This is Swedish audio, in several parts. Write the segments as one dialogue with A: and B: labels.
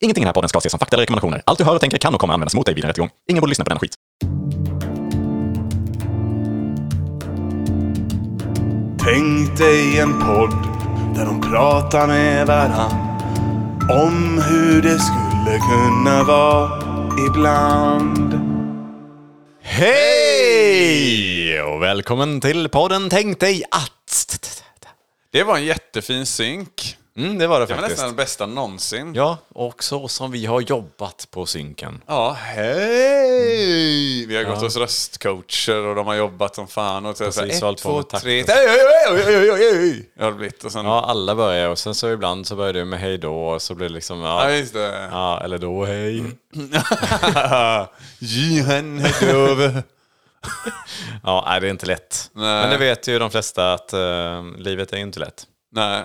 A: Ingenting i den här podden ska ses som fakta eller rekommendationer. Allt du hör och tänker kan och kommer användas mot dig vid en rättegång. Ingen borde lyssna på den skit.
B: Tänk dig en podd där de pratar med varann om hur det skulle kunna vara ibland.
A: Hej! Och välkommen till podden Tänk dig att...
C: Det var en jättefin synk.
A: Mm, det var det
C: Det var
A: faktiskt.
C: nästan den bästa någonsin.
A: Ja, och så som vi har jobbat på synken.
C: Ja, hej! Vi har gått hos röstcoacher och de har jobbat som fan. Och så
A: Precis,
C: Precis,
A: och
C: så
A: hållit
C: ett,
A: på med takt.
C: två, tre... Oj, oj, oj, oj, oj, oj. Ja, det har blivit. Och sen... Ja,
A: Ja, alla börjar och sen så ibland så börjar du med hej då och så blir det liksom... Ja,
C: just det.
A: ja eller då
C: Mm.
A: hej.
C: Jihan Hedove.
A: Ja, nej, det är inte lätt.
C: Nej.
A: Men det vet ju de flesta att eh, livet är ju inte lätt.
C: Nej.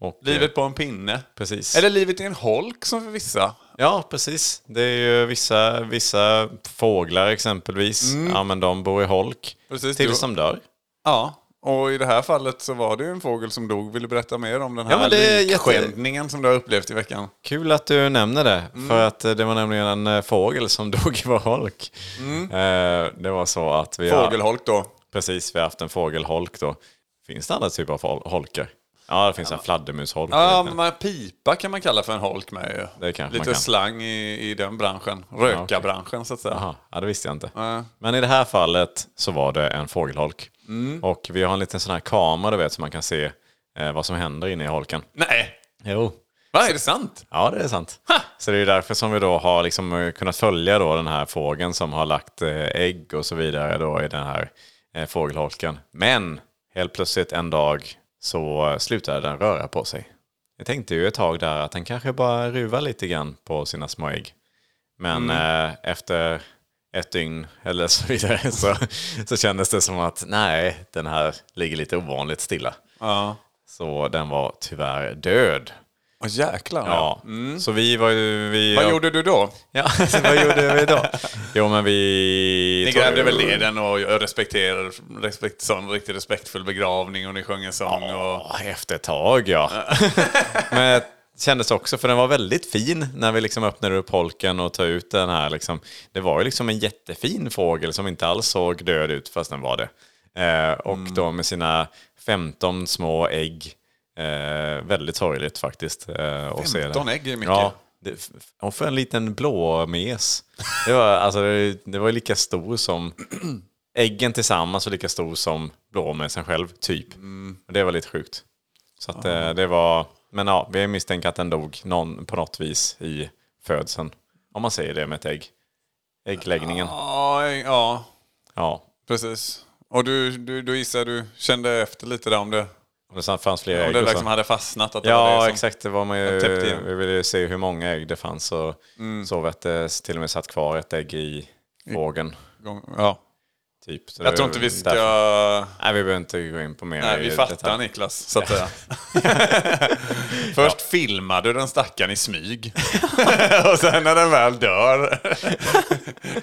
A: Och, eh,
C: Livet på en pinne.
A: Precis.
C: Eller livet i en holk som för vissa.
A: Ja, precis. Det är ju vissa, vissa fåglar exempelvis. Ja, men de bor i holk.
C: Mm. Precis, du-
A: tills de dör.
C: Ja. Och i det här fallet så var det ju en fågel som dog. Vill du berätta mer om den här
A: men det är jätte-
C: likskändningen som du har upplevt i veckan?
A: Kul att du nämner det,
C: Mm.
A: för att eh, det var nämligen en eh, fågel som dog i vår holk.
C: Mm.
A: Eh, det var så att vi har,
C: Fågelholk då.
A: precis, vi har haft en fågelholk då. Finns det andra typer av hol- holkar? Ja, det finns en fladdermusholk. och
C: Ja,
A: liknande.
C: men pipa kan man kalla för en holk med ju.
A: Det kanske man
C: Lite
A: kan.
C: slang i, i den branschen.
A: Ja,
C: Rökarbranschen så att säga. Eh,
A: Aha, ja, det visste jag inte. Men i det här fallet så var det en fågelholk.
C: Mm.
A: Och vi har en liten sån här kamera du vet så man kan se eh, vad som händer inne i holken.
C: Nej!
A: Jo.
C: Va, är det sant?
A: Ja, det är sant. Så det är ju därför som vi då har liksom eh, kunnat följa då den här fågeln som har lagt eh, ägg och så vidare då i den här eh, fågelholken. Men helt plötsligt en dag så eh, slutade den röra på sig. Jag tänkte ju ett tag där att den kanske bara ruvar lite grann på sina små ägg. Men eh, efter ett dygn eller så vidare så, så kändes det som att nej, den här ligger lite ovanligt stilla.
C: Ja.
A: Så den var tyvärr död.
C: Åh jäklar.
A: Ja, så vi var ju... Vi,
C: Mm. Vad gjorde du då?
A: Ja, så vad gjorde vi då? Jo, men vi...
C: Ni grävde väl ner den och respekterade respekt, sån riktigt respektfull begravning och ni sjöng en sång och...
A: Ja, efter ett tag ja. men det kändes också, för den var väldigt fin när vi liksom öppnade upp holken och tog ut den här. Liksom. Det var ju liksom en jättefin fågel som inte alls såg död ut fast den var det. Eh, och
C: Mm.
A: då med sina 15 små ägg. Eh, väldigt sorgligt faktiskt. Eh, och se det.
C: 15 ägg är mycket.
A: Ja, det, f- och för en liten blå mes. Det var, alltså, det, det var lika stor som äggen tillsammans var lika stor som blåmesen själv, typ.
C: Mm.
A: Och det var lite sjukt. Så att, eh, det var... Men ja, vi misstänker att den dog någon, på något vis i födseln. Om man säger det med ett ägg. Äggläggningen.
C: Ja, ja
A: Ja.
C: precis. Och du, du, du gissar, du kände efter lite där om det,
A: Och det sen fanns flera
C: om
A: ägg.
C: det
A: och så-
C: liksom hade fastnat? Att det var
A: Ja,
C: det som...
A: exakt. Det var man ju,
C: liksom. täppte Mm. igen.
A: vi ville ju se hur många ägg det fanns. Och såg vi att det till och med satt kvar ett ägg i fågeln.
C: Gång- Ja.
A: Typ. Så det
C: Jag tror
A: var
C: inte vi ska...
A: därför- Nej, vi behöver inte gå in på mer
C: Nej,
A: i
C: vi fattar
A: detalj.
C: Niklas, så att säga. Först filmade du den stackaren i smyg. och sen när den väl dör.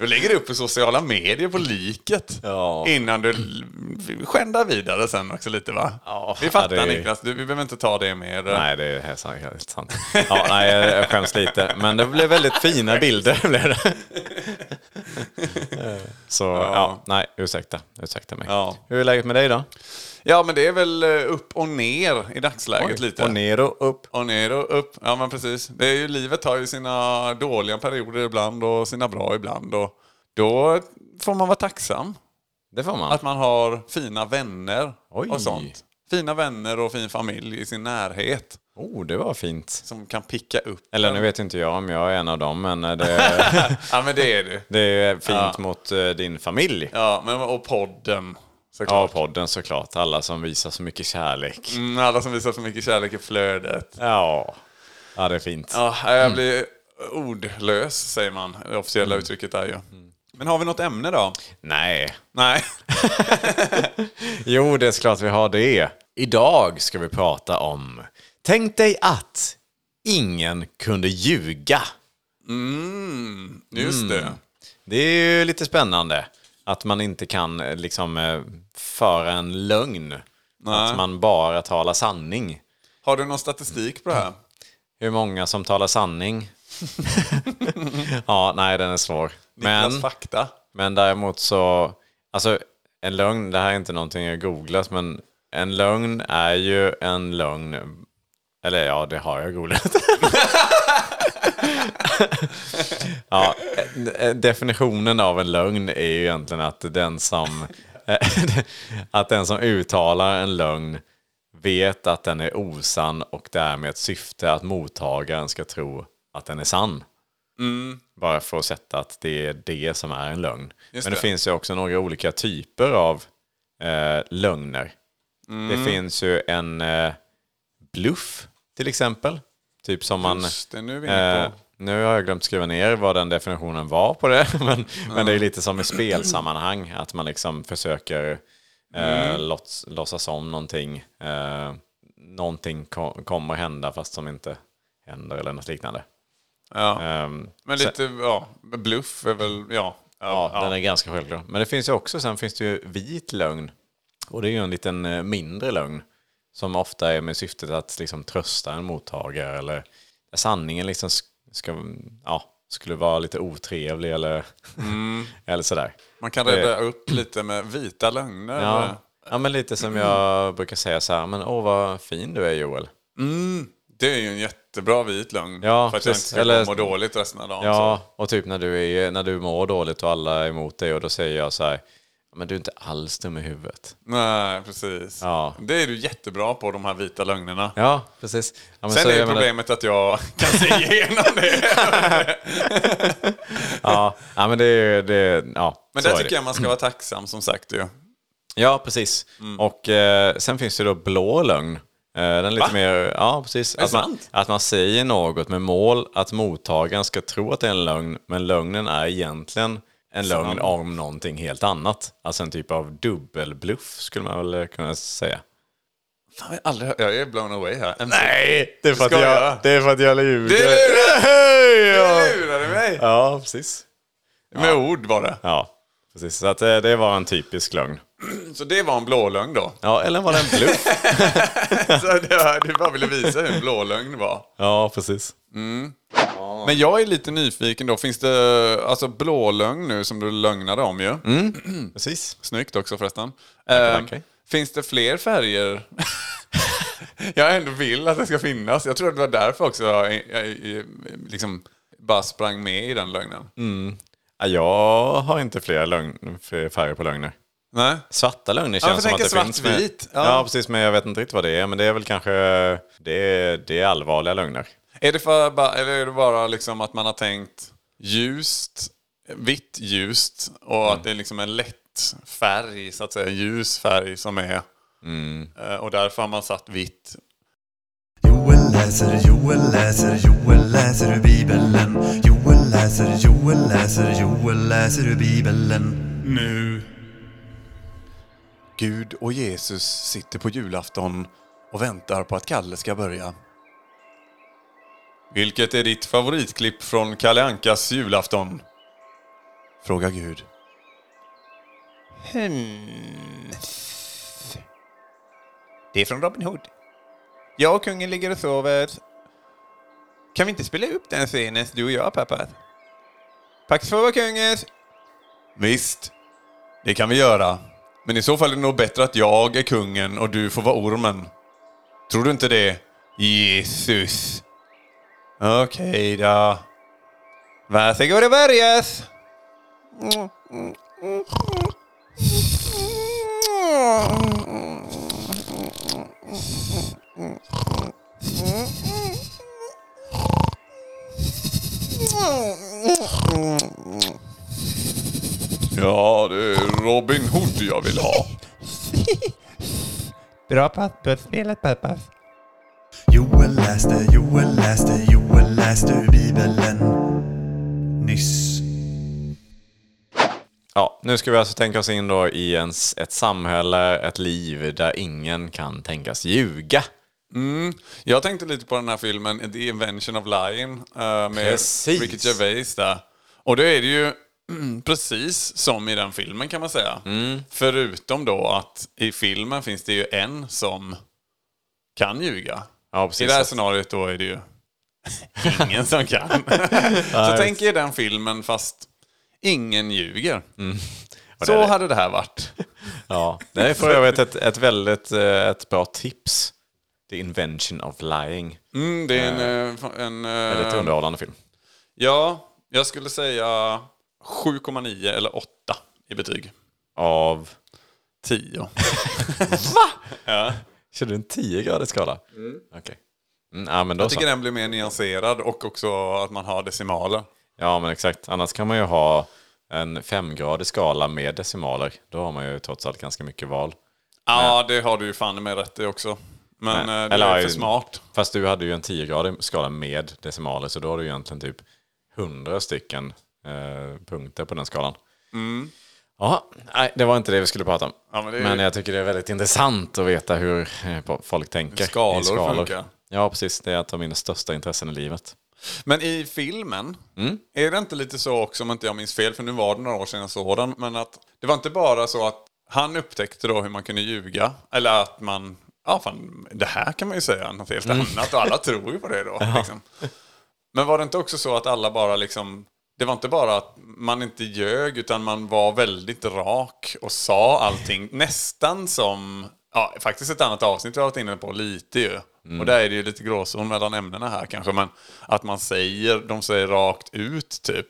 C: du lägger upp på sociala medier på liket.
A: Ja.
C: Innan du l- skändar vidare sen också lite va?
A: Ja,
C: vi fattar
A: det är-
C: Niklas, du, vi behöver inte ta det mer.
A: Nej, det är helt sant- helt sant. Ja, nej, jag jag skäms lite. Men det blev väldigt fina bilder. Blev det. Så ja. nej, ursäkta. Ursäkta mig.
C: Ja.
A: Hur är läget med dig då?
C: Ja men det är väl eh, upp och ner i dagsläget lite.
A: Och ner och upp.
C: Och ner och upp. Ja men precis. Det är ju, livet har ju sina dåliga perioder ibland och sina bra ibland. Och då får man vara tacksam.
A: Det får man.
C: Att man har fina vänner
A: Oj.
C: och sånt. Fina vänner och fin familj i sin närhet.
A: Oh, det var fint.
C: Som kan picka upp.
A: Eller nu vet inte jag om jag är en av dem, men eh, det,
C: Ja men det är du.
A: det är fint mot eh, din familj.
C: Ja, men, och podden.
A: Ja,
C: Såklart.
A: och podden såklart. Alla som visar så mycket kärlek.
C: Mm, alla som visar så mycket kärlek i flödet. Mm.
A: Ja, ja det är fint.
C: Ja, äh, jag blir ordlös säger man. Det officiella uttrycket är ju. Mm. Men har vi något ämne då?
A: Nej,
C: Nej.
A: Jo, det är klart vi har det. Idag ska vi prata om Tänk dig att ingen kunde ljuga.
C: Mm, just det.
A: Det är ju lite spännande att man inte kan eh, liksom eh, föra en lögn. Att man bara talar sanning.
C: Har du någon statistik på det här?
A: Hur många som talar sanning ja, nej den är svår. Men,
C: Niklas fakta.
A: men däremot så, alltså en lögn, det här är inte någonting jag googlat, men en lögn är ju en lögn, eller ja, det har jag googlat. ja, eh, definitionen av en lögn är ju egentligen att den som, eh, att den som uttalar en lögn vet att den är osann och därmed ett syfte att mottagaren ska tro att den är sann. Bara för att sätta att det är det som är en lögn. Men det,
C: det.
A: finns ju också några olika typer av eh, lögner. Det finns ju en eh, bluff till exempel. Typ som man...
C: Just det, nu är vi inne
A: Eh,
C: på.
A: nu har jag glömt skriva ner vad den definitionen var på det, men, men det är lite som i spelsammanhang, att man liksom försöker eh,
C: Mm.
A: låts, låtsas om någonting. Eh, någonting ko- kommer hända fast som inte händer eller något liknande.
C: Ja.
A: Ehm,
C: Men lite, ja, bluff är väl, ja.
A: ja, Den är ganska självklar. Men det finns ju också, sen finns det ju vit lögn. Och det är ju en liten eh, mindre lögn. Som ofta är med syftet att liksom trösta en mottagare eller där sanningen liksom sk- ska, ja, skulle vara lite otrevlig eller, eller sådär.
C: Man kan rädda upp lite med vita lögner.
A: Ja, ja, men lite som jag brukar säga så här, men åh vad fin du är Joel.
C: Det är ju en jättebra vit lögn.
A: Ja,
C: för att jag
A: precis.
C: inte ska
A: Eller-
C: må dåligt resten av dagen.
A: Ja, och typ när du, är, när du mår dåligt och alla är emot dig och då säger jag så här, men du är inte alls dum i huvudet.
C: Så. Nej, precis.
A: Ja.
C: Det är du jättebra på, de här vita lögnerna.
A: Ja, precis. Ja, men
C: Sen
A: så
C: är
A: jag
C: ju
A: menar-
C: problemet att jag kan se igenom det.
A: Ja, ja men det är det, ja.
C: Men
A: så
C: där
A: är
C: tycker
A: det.
C: jag man ska vara tacksam som sagt ju.
A: Ja, precis. Och eh, sen finns det då blå lögn. Eh, den är lite mer, ja precis. Att man,
C: sant?
A: att man säger något med mål att mottagaren ska tro att det är en lögn, men lögnen är egentligen en lögn om någonting helt annat. Alltså en typ av dubbelbluff skulle man väl kunna säga.
C: Fan, jag, har aldrig, hört- jag är blown away här.
A: Nej, det är för att
C: Ska
A: jag,
C: jag?
A: det är för att jag ljuger.
C: Du lurade-
A: Hej, ja.
C: du lurade mig!
A: ja, precis.
C: Med ord var det.
A: Ja, precis. Så att, eh, det var en typisk lögn.
C: Så det var en blålögn då.
A: Ja, eller var det en bluff?
C: Så det var, du bara ville visa hur en blålögn var.
A: Ja, precis.
C: Men jag är lite nyfiken då. Finns det alltså blålögn nu som du lögnade om ju?
A: Precis.
C: Snyggt också förresten.
A: tackar.
C: Ehm, finns det fler färger? jag ändå vill att det ska finnas. Jag tror att det var därför också jag, jag, jag liksom bara sprang med i den lögnen.
A: Ja, Jag har inte fler, lögn, fler färger på lögner.
C: Nej?
A: Svarta lögner känns
C: jag
A: som att det
C: tänker
A: finns.
C: svartvit.
A: Med, ja.
C: Ja.
A: precis. Men jag vet inte riktigt vad det är. Men det är väl kanske det är, det är allvarliga lögner.
C: Är det, för, bara- eller är det bara liksom att man har tänkt ljust, vitt ljust och att det är liksom en lätt färg, så att säga, en ljus färg som är... Eh, Och därför har man satt vitt.
D: Joel läser, Joel läser, Joel läser ur Bibeln. Joel läser, Joel läser, Joel läser ur Bibeln.
C: Nu. Gud och Jesus sitter på julafton och väntar på att Kalle ska börja. Vilket är ditt favoritklipp från Kalle Ankas julafton? Fråga Gud. Hmm. Det är från Robin Hood. Jag och kungen ligger och sover. Kan vi inte spela upp den scenen, du och jag, pappa? Pax för kungen! Visst, det kan vi göra. Men i så fall är det nog bättre att jag är kungen och du får vara ormen. Tror du inte det? Jesus. Okej då. Varsågod och börjas. Ja, det är Robin Hood jag vill ha.
E: Bra passpusspelet Peppas.
D: Joel läste, Joel läste, Joel läste ur Bibeln. Nyss.
A: Ja, nu ska vi alltså tänka oss in då i en, s- ett samhälle, ett liv där ingen kan tänkas ljuga.
C: Jag tänkte lite på den här filmen The Invention of Lying eh, med
A: Precis.
C: Ricky Gervais där. Och då är det ju mm, precis som i den filmen kan man säga. Förutom då att i filmen finns det ju en som kan ljuga.
A: Ja,
C: I
A: precis.
C: det här scenariot då är det ju Ingen som kan. så tänk er den filmen fast ingen ljuger. Så hade det här varit.
A: Ja, det är för övrigt ett, ett väldigt eh, ett bra tips. The Invention of Lying.
C: Mm, det är en... eh, fa- en eh,
A: Väldigt underhållande film.
C: ja, jag skulle säga 7,9 eller 8 i betyg.
A: Av...
C: 10.
A: Känner du en 10-gradig skala? Mm. Okej. Mm, ja, men då
C: Jag
A: så.
C: tycker den blir mer nyanserad och också att man har decimaler.
A: Ja, men exakt. Annars kan man ju ha en 5-gradig skala med decimaler. Då har man ju trots allt ganska mycket val.
C: Ja, det har du ju fan med rätt i också. Men
A: Nej.
C: eh, det
A: Eller,
C: är
A: ja,
C: för smart.
A: Fast du hade ju en 10-gradig skala med decimaler, så då har du egentligen typ 100 stycken eh, punkter på den skalan. Ja, nej, det var inte det vi skulle prata om.
C: Mm. Ja, men det är-
A: jag tycker det är väldigt intressant att veta hur eh, po- folk tänker. i
C: skalor funkar.
A: Ja, precis. Det är ett av mina största intressen i livet.
C: Men i filmen, är det inte lite så också, om inte jag minns fel, för nu var det några år sedan jag såg den, men att det var inte bara så att han upptäckte då hur man kunde ljuga, eller att man, ja fan, det här kan man ju säga något helt annat och alla tror ju på det då. Liksom. Men var det inte också så att alla bara liksom, det var inte bara att man inte ljög utan man var väldigt rak och sa allting nästan som, ja faktiskt ett annat avsnitt vi har varit inne på lite ju. Och där är det ju lite gråzon mellan ämnena här kanske men att man säger, de säger rakt ut typ.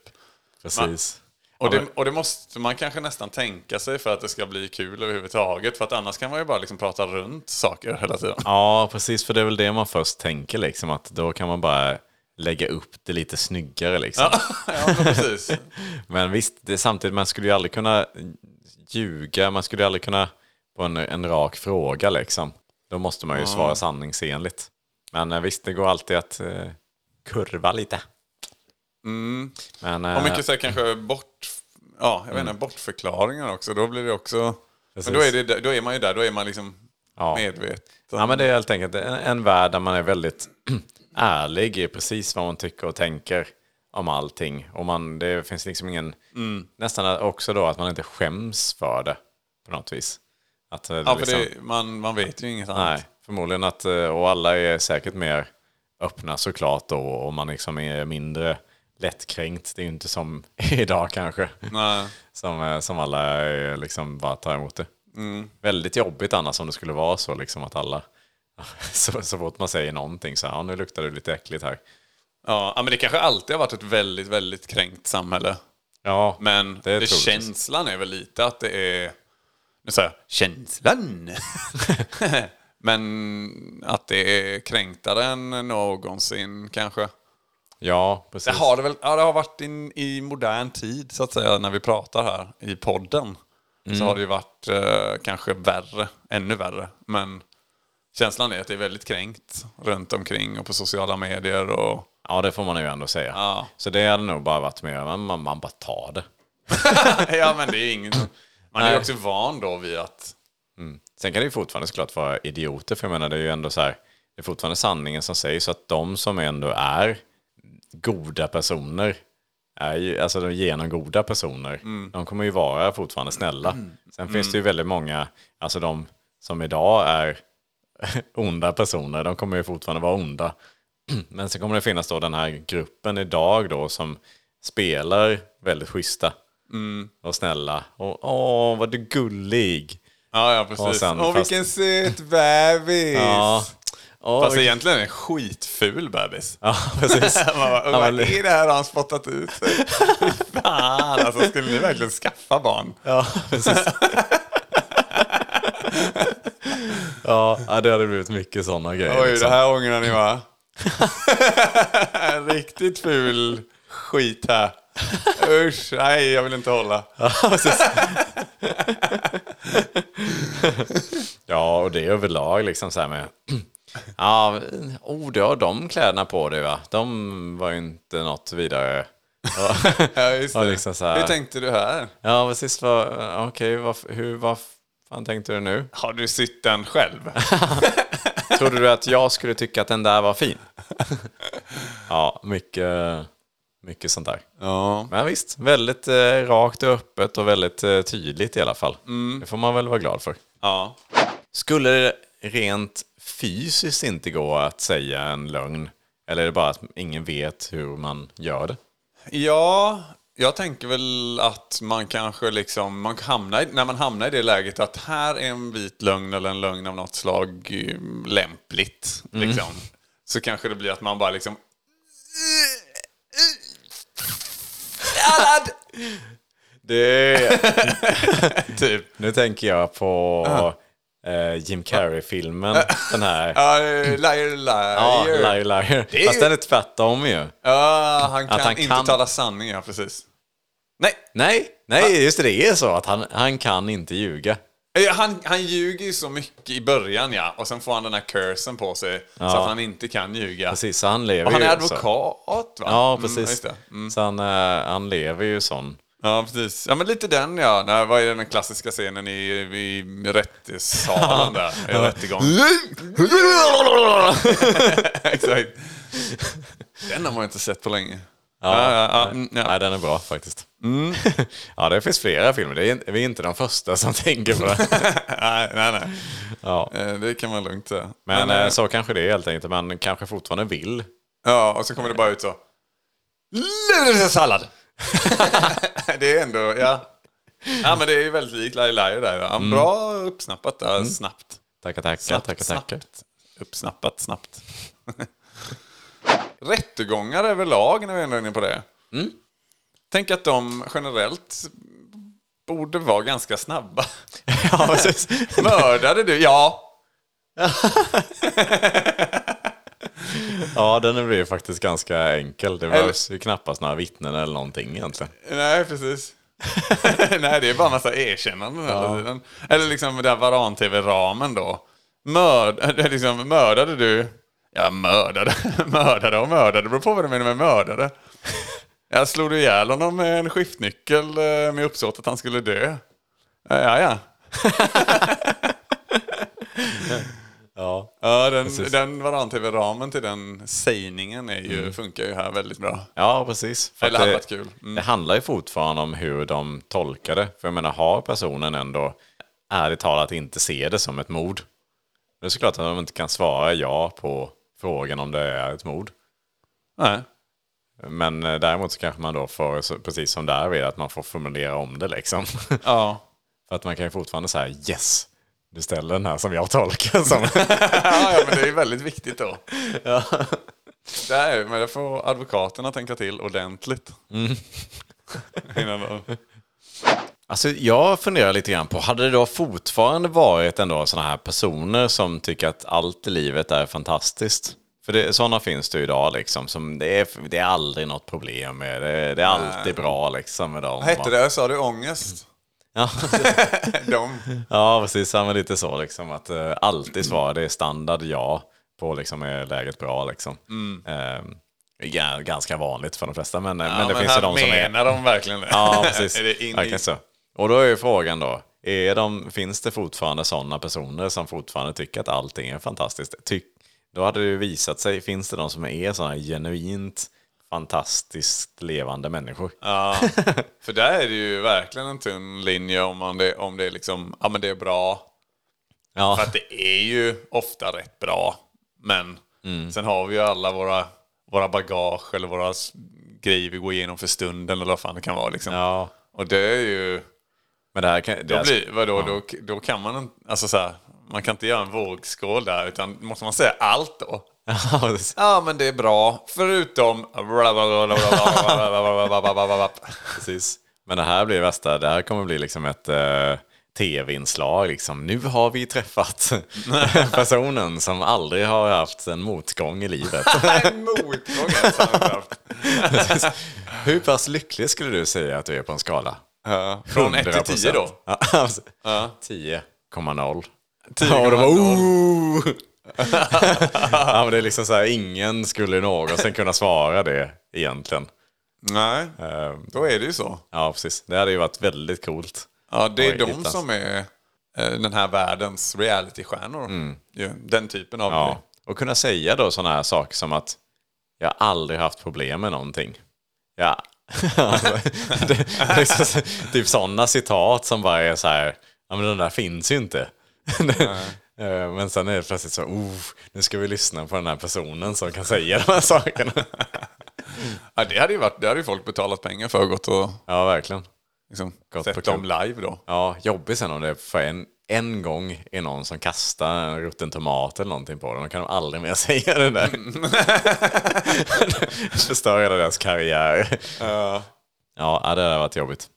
A: Precis.
C: Och
A: Ja,
C: det, och det måste man kanske nästan tänka sig för att det ska bli kul överhuvudtaget för att annars kan man ju bara liksom prata runt saker hela tiden.
A: Ja, precis. För det är väl det man först tänker, liksom, att då kan man bara lägga upp det lite snyggare. Liksom.
C: ja men precis.
A: Men visst, det, samtidigt, man skulle ju aldrig kunna ljuga, man skulle ju aldrig kunna på en, en rak fråga liksom. Då måste man ju svara sanningsenligt. Men eh, visst, det går alltid att eh, kurva lite. Men, eh, Mm.
C: Och Mm. mycket så här kanske bort, ja, jag vet inte, bortförklaringar också. Då blir det också...
A: Precis.
C: Men då är, det, då är man ju där, då är man liksom
A: Ja.
C: medveten.
A: ja, men det är helt enkelt en, en värld där man är väldigt ärlig i precis vad man tycker och tänker om allting. Och man, det finns liksom ingen,
C: Mm.
A: nästan också då att man inte skäms för det på något vis. Att, eh,
C: ja, för
A: liksom,
C: det, man, man vet ju inget annat.
A: Nej, förmodligen att, eh, och alla är säkert mer öppna såklart då, och man liksom är mindre lättkränkt. Det är ju inte som idag kanske,
C: Nej.
A: som, eh, som alla eh, liksom bara tar emot det.
C: Mm.
A: Väldigt jobbigt annars om det skulle vara så liksom att alla, så, så fort man säger någonting så här, ja, nu luktar det lite äckligt här.
C: Ja, ja, men det kanske alltid har varit ett väldigt, väldigt kränkt samhälle.
A: Ja,
C: Men
A: Det är
C: det
A: troligtvis.
C: känslan är väl lite att det är... Nu säger jag känslan. men att det är kränktare än någonsin kanske.
A: ja precis.
C: Det har det väl ja, det har varit in, i modern tid så att säga när vi pratar här i podden. Så
A: Mm.
C: har det ju varit eh, kanske värre, ännu värre. Men känslan är att det är väldigt kränkt runt omkring och på sociala medier. Och,
A: Ja, det får man ju ändå säga.
C: Ja.
A: Så det hade nog bara varit mer, man, man, man bara tar det.
C: ja men det är ingen... Man är ju
A: Nej.
C: också van då vid att...
A: Sen kan det ju fortfarande såklart vara idioter, för jag menar det är ju ändå så här, det är fortfarande sanningen som sägs, så att de som ändå är goda personer, är ju, alltså de genomgoda personer, de kommer ju vara fortfarande snälla. Sen finns det ju väldigt många, alltså de som idag är onda personer, de kommer ju fortfarande vara onda. Men sen kommer det finnas då den här gruppen idag då som spelar väldigt schyssta och snälla och åh vad du är gullig.
C: Ja, ja
A: Och
C: precis.
A: sen-
C: Åh
A: fast-
C: vilken söt bebis!
A: Ja. Åh,
C: Fast
A: vilken-
C: egentligen är det en skitful bebis.
A: Ja, precis.
C: Man bara,
A: Ja,
C: vad
A: men-
C: är det här han spottat ut sig? Fy Fan, alltså skulle ni verkligen skaffa barn?
A: Ja, precis. ja, ja, det hade blivit mycket sådana grejer.
C: Oj,
A: liksom.
C: det här ångrar ni va? Riktigt ful skit här. Usch, nej jag vill inte hålla.
A: Ja, och det är överlag liksom så här med... Ja, oh, du har de kläderna på dig va? De var ju inte något vidare... Ja,
C: Ja, just
A: Ja,
C: det.
A: liksom så här.
C: Hur tänkte du här?
A: ja precis. Vad, okej, vad, hur, vad fan tänkte du nu?
C: Har du sytt den själv?
A: Trodde du att jag skulle tycka att den där var fin? Ja, mycket, mycket sånt där.
C: Ja.
A: Men visst, väldigt eh, rakt och öppet och väldigt eh, tydligt i alla fall.
C: Mm.
A: Det får man väl vara glad för.
C: ja.
A: Skulle det rent fysiskt inte gå att säga en lögn Eller är det bara att ingen vet hur man gör det?
C: Ja, jag tänker väl att man kanske liksom, man hamnar, i- när man hamnar i det läget att här är en vit lögn eller en lögn av något slag eh, lämpligt.
A: Mm.
C: Liksom. Så kanske det blir att man bara liksom... Sallad! typ.
A: Nu tänker jag på
C: Ah.
A: eh, Jim Carrey-filmen. Den här.
C: Uh, liar, liar.
A: Ja, liar, liar.
C: Ah. är ju-
A: Fast den är tvärtom ju.
C: Ja, han kan
A: han
C: inte
A: kan-
C: tala sanning, ja precis. Nej,
A: Nej,
C: Ah.
A: nej, just det, det är så att han, han kan inte ljuga.
C: Eh, Han, han ljuger ju så mycket i början ja, och sen får han den här cursen på sig så att han inte kan ljuga.
A: Precis, så han lever
C: Och han
A: ju
C: är
A: så.
C: advokat va?
A: Ja,
C: Mm,
A: precis.
C: just det. Mm.
A: Så han, eh, han lever ju sån.
C: Ja, precis. Ja, men lite den ja. Nej, vad är den klassiska scenen i, i rättssalen där? I rättegången. Exakt. Den har man inte sett på länge. Ja, ja, ja, mm, ja.
A: Nej, den är bra faktiskt. Mm. ja, det finns flera filmer. Det är, vi är inte de första som tänker på det.
C: nej, nej, nej.
A: Ja.
C: Eh, Det kan man lugnt säga.
A: Men
C: eh,
A: eh, så kanske det är helt enkelt. Man kanske fortfarande vill.
C: Ja, och så kommer det bara ut så. Sallad! det är ändå, ja. Ja, men det är ju väldigt likt Laila Laila där. Ja,
A: Mm.
C: Bra uppsnappat där, snabbt.
A: Tacka, tacka,
C: Snabbt,
A: tacka, tacka.
C: snabbt. Uppsnappat, snabbt. Rättegångar överlag, när vi ändå är inne på det.
A: Mm.
C: Tänk att de generellt borde vara ganska snabba.
A: Ja, precis.
C: Mördade du? Ja.
A: ja, den blir ju faktiskt ganska enkel. Det
C: Eller-
A: behövs ju knappast några vittnen eller någonting egentligen.
C: Nej, precis. Nej, det är bara massa erkännanden hela tiden. Eller liksom den Varan-TV-ramen då. Mörd, det är liksom, mördade du? Ja, mördade. mördade och mördade. Det beror på vad du menar med mördade. Jag slog du ihjäl honom med en skiftnyckel eh, med uppsåt att han skulle dö. Ja, ja. Ja,
A: Ja.
C: ja den,
A: Precis.
C: den Varan-TV-ramen till den sägningen är ju, funkar ju här väldigt bra.
A: Ja, precis. Mm. För
C: Eller
A: att
C: hade
A: det-
C: varit kul. Mm.
A: Det handlar ju fortfarande om hur de tolkar det. För jag menar, har personen ändå ärligt talat inte ser det som ett mord? Det är såklart att de inte kan svara ja på frågan om det är ett mord.
C: Nej.
A: Men eh, däremot så kanske man då får, så- precis som där vid, att man får formulera om det liksom.
C: Ja.
A: För att man kan ju fortfarande säga yes, du ställer den här som jag tolkar som.
C: ja, ja, men det är väldigt viktigt då. Där, men det får advokaterna tänka till ordentligt.
A: Mm.
C: Innan de...
A: Alltså jag funderar lite grann på, hade det då fortfarande varit ändå sådana här personer som tycker att allt i livet är fantastiskt? För det, sådana finns det ju idag liksom, som det är, det är aldrig något problem med, det, det är alltid bra liksom med dem.
C: Vad hette
A: va?
C: det? Sa du ångest?
A: Ja,
C: De.
A: ja precis, ja, men lite så liksom att eh, alltid svara det är standard ja på liksom är läget bra liksom.
C: Mm.
A: Ehm, det är ganska vanligt för de flesta men, eh, men det finns ju de som är...
C: menar de verkligen det?
A: Ja, precis.
C: är det in i...
A: Verkligen så. Och då är ju frågan då, är de, finns det fortfarande sådana personer som fortfarande tycker att allting är fantastiskt? Ty, då hade det ju visat sig, finns det de som är sådana genuint fantastiskt levande människor?
C: Ja, för där är det ju verkligen en tunn linje om, man det, om det är liksom, ja men det är bra.
A: Ja,
C: För att det är ju ofta rätt bra. Men
A: Mm.
C: sen har vi ju alla våra, våra bagage eller våra s- grejer vi går igenom för stunden eller vad fan det kan vara liksom.
A: ja.
C: Och det är ju...
A: men det här kan... Det
C: Då
A: här,
C: blir, vadå, då, då kan man inte... Alltså så här, man kan inte göra en vågskål där, utan måste man säga allt då?
A: Ja, precis.
C: Ja, men det är bra, förutom...
A: precis. Men det här blir det värsta, det här kommer bli liksom ett eh, tv-inslag liksom. Nu har vi träffat personen som aldrig har haft en motgång i livet.
C: En motgång alltså. har jag haft.
A: Hur pass lycklig skulle du säga att du är på en skala?
C: Ja, Från 1 till 10 då?
A: Ja, alltså, 10,0.
C: 10,0.
A: Ja, det var "Ooh!" ja, men det är liksom så här, ingen skulle någonsin kunna svara det egentligen.
C: Nej,
A: Ehm,
C: då är det ju så.
A: Ja, precis. Det hade ju varit väldigt coolt.
C: Ja, det är
A: Oj,
C: de
A: hittas.
C: som är eh, den här världens realitystjärnor. Ju, Den typen av...
A: Mm. Ja. Och kunna säga då sådana här saker som att jag har aldrig haft problem med någonting. Ja. alltså, det, det är liksom, så- typ sådana citat som bara är så här, ja men den där finns ju inte. Eh, Men sen är det plötsligt så, oh, nu ska vi lyssna på den här personen som kan säga de här sakerna.
C: Ja, det hade ju varit, det hade ju folk betalat pengar för och gått och
A: Ja, verkligen.
C: liksom,
A: Gått på
C: sett
A: klubb.
C: dem live då.
A: Ja, jobbigt sen om det för en, en gång är någon som kastar en rutten tomat eller någonting på dem. Då kan de aldrig mer säga det där. Förstör hela deras karriär. Ja, ja, det har varit jobbigt.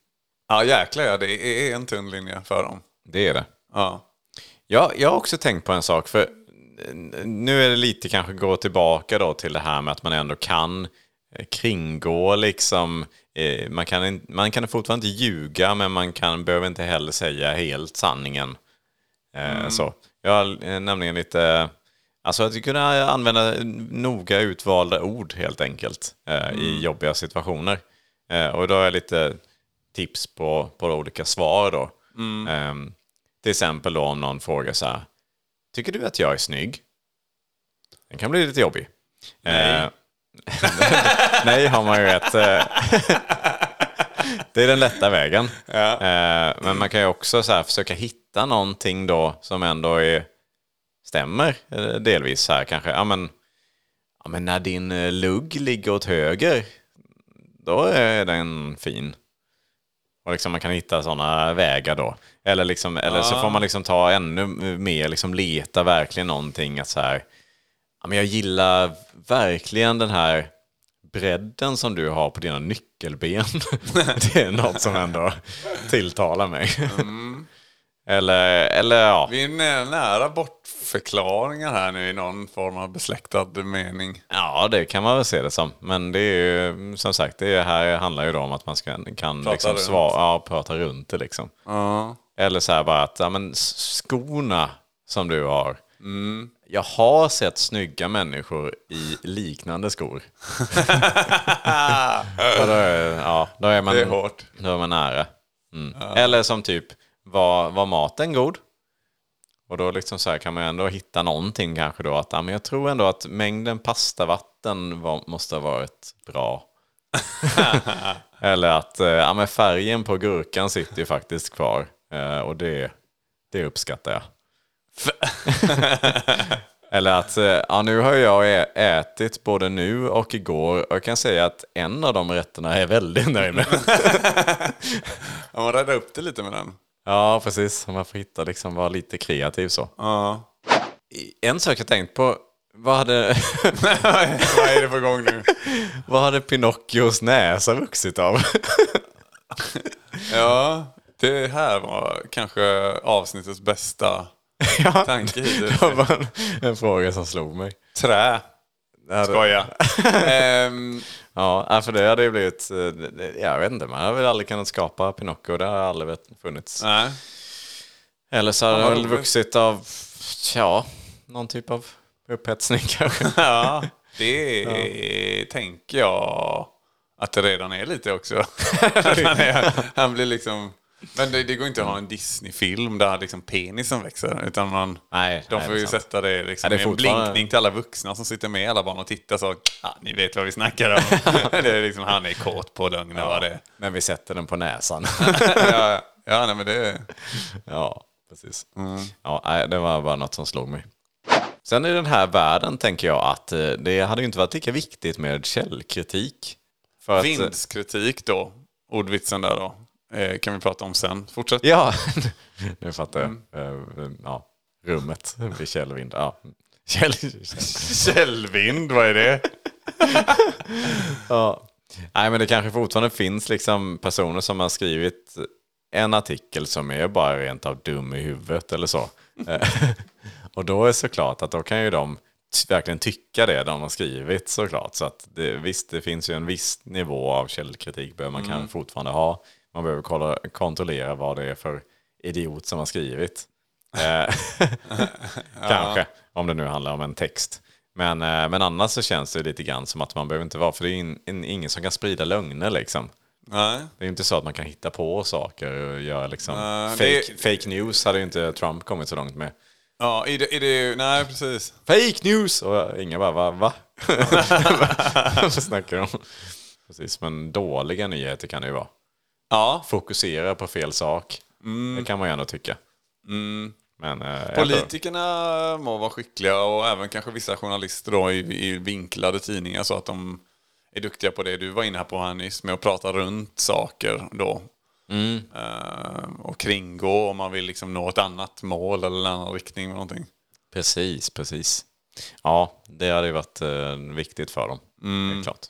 C: Ja, jäklar ja, det är en tunn linje för dem.
A: Det är det.
C: Ja.
A: Ja, jag har också tänkt på en sak. för eh, Nu är det lite kanske gå tillbaka då till det här med att man ändå kan eh, kringgå liksom. eh, Man kan, in- man kan fortfarande inte ljuga men man kan, behöver inte heller säga helt sanningen. Eh, Så. Jag har eh, nämligen lite, alltså att kunna använda noga utvalda ord helt enkelt eh, i jobbiga situationer. Eh, Och då har jag lite tips på, på olika svar då. Ehm, till exempel då om någon frågar så här, tycker du att jag är snygg? Den kan bli lite jobbig. Nej. nej har man ju rätt. eh, det är den lätta vägen. Eh, men man kan ju också så här försöka hitta någonting då som ändå är, stämmer eh, delvis. Så här kanske, ja men, ja men när din eh, lugg ligger åt höger, då är den fin. Och liksom man kan hitta sådana vägar då. Eller, liksom, eller så får man liksom ta ännu mer, liksom leta verkligen någonting att så här, ja, men jag gillar verkligen den här bredden som du har på dina nyckelben. det är något som ändå tilltalar mig. eller, eller ja.
C: Vi är nä- nära bortförklaringar här nu i någon form av besläktad mening.
A: ja, det kan man väl se det som. Men det är ju som sagt, det här handlar ju då om att man ska, kan
C: Prata
A: liksom
C: runt.
A: svara, ja, prata runt det liksom.
C: Ja.
A: Eller så här bara att, ja men s- skorna som du har.
C: Mm.
A: Jag har sett snygga människor i liknande skor. Och då, är, ja, då är man,
C: Det är hårt.
A: Då är man nära. Mm. Eller som typ, var, var maten god? Och då liksom så här kan man ju ändå hitta någonting kanske då. Att, ja, men jag tror ändå att mängden pastavatten var, måste ha varit bra. Eller att eh, ja, men färgen på gurkan sitter ju faktiskt kvar. Eh, Och det, det uppskattar jag. Eller att eh, ja, nu har jag ä- ätit både nu och igår och jag kan säga att en av de rätterna är jag väldigt nöjd med.
C: Ja, man räddar upp det lite med den.
A: Ja, precis. Man får hitta liksom, vara lite kreativ så.
C: Ja.
A: En sak jag tänkt på, vad hade,
C: Vad är det på gång nu?
A: vad hade Pinocchios näsa vuxit av?
C: Ja, det här var kanske avsnittets bästa
A: Ja,
C: tanke hittills.
A: det var en, en fråga som slog mig.
C: Trä.
A: Det hade-
C: Skoja. Ehm,
A: Ja, nej, för det hade ju blivit, eh, det- det- jag vet inte, man hade väl aldrig kunnat skapa Pinocchio, det har aldrig vet- funnits.
C: nej.
A: Eller så hade det väl
C: roligt.
A: vuxit av, ja, någon typ av upphetsning kanske.
C: Ja, det tänker jag att det redan är lite också. han, är, han blir liksom... Men det, det går inte att ha en Disney-film där liksom penisen växer. Utan man,
A: Nej,
C: de
A: nej,
C: får
A: det är
C: ju
A: sant.
C: sätta det liksom
A: Ja, det är
C: i en
A: fortfarande-
C: blinkning till alla vuxna som sitter med alla barn och tittar. Så, ja, ni vet vad vi snackar om. det är liksom, han är kåt på lögn och vad det är.
A: Men vi sätter den på näsan.
C: Ja, ja nej, men det...
A: Ja, precis. Ja, nej, det var bara något som slog mig. Sen i den här världen tänker jag att eh, det hade ju inte varit lika viktigt med källkritik. För att-
C: Vindskritik då, ordvitsen där då. Eh, kan vi prata om sen. Fortsätt.
A: Ja, nu fattar jag. Eh, Ja, rummet vid källvind. Ja. Käll...
C: Källvind, vad är det?
A: Ja. Nej, men det kanske fortfarande finns liksom personer som har skrivit en artikel som är bara rent av dum i huvudet eller så. Eh, och då är det såklart att då kan ju de t- verkligen tycka det de har skrivit såklart. Så att det, visst, det finns ju en viss nivå av källkritik behöver man kan fortfarande ha. Man behöver kolla, kontrollera vad det är för idiot som har skrivit. Eh, Kanske, om det nu handlar om en text. Men, eh, men annars så känns det lite grann som att man behöver inte vara, för det är in, in, ingen som kan sprida lögner liksom.
C: Nej.
A: Det är ju inte så att man kan hitta på saker och göra liksom...
C: Nej, det-
A: fake, fake news hade ju inte Trump kommit så långt med.
C: Ja, i det, i det, nej precis.
A: Fake news! Och inga bara, va? va? Vad snackar de om? Precis, men dåliga nyheter kan det ju vara.
C: Ja, Mm.
A: Fokusera på fel sak. Det kan man ju ändå tycka. Men, eh, jag tror-
C: Politikerna må vara skickliga och även kanske vissa journalister då i, i vinklade tidningar så att de är duktiga på det du var inne här på här nyss med att prata runt saker då.
A: Mm.
C: Eh, och kringgå om man vill liksom nå ett annat mål eller en annan riktning med någonting.
A: Precis, precis. Ja, det hade ju varit eh, viktigt för dem.
C: Mm.
A: Det är klart.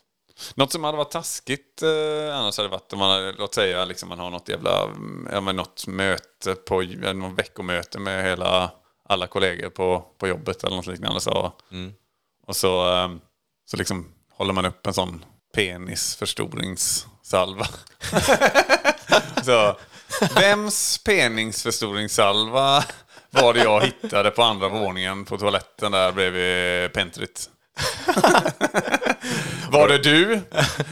C: Något som hade varit taskigt eh, annars hade varit om man, hade- låt säga liksom man har något jävla, mm, ja men något möte på, eller något veckomöte med hela, alla kollegor på, på jobbet eller något liknande. Så, Och så, eh, så liksom håller man upp en sån penisförstoringssalva. så, vems penisförstoringssalva var det jag hittade på andra våningen på toaletten där bredvid pentryt? Var det du?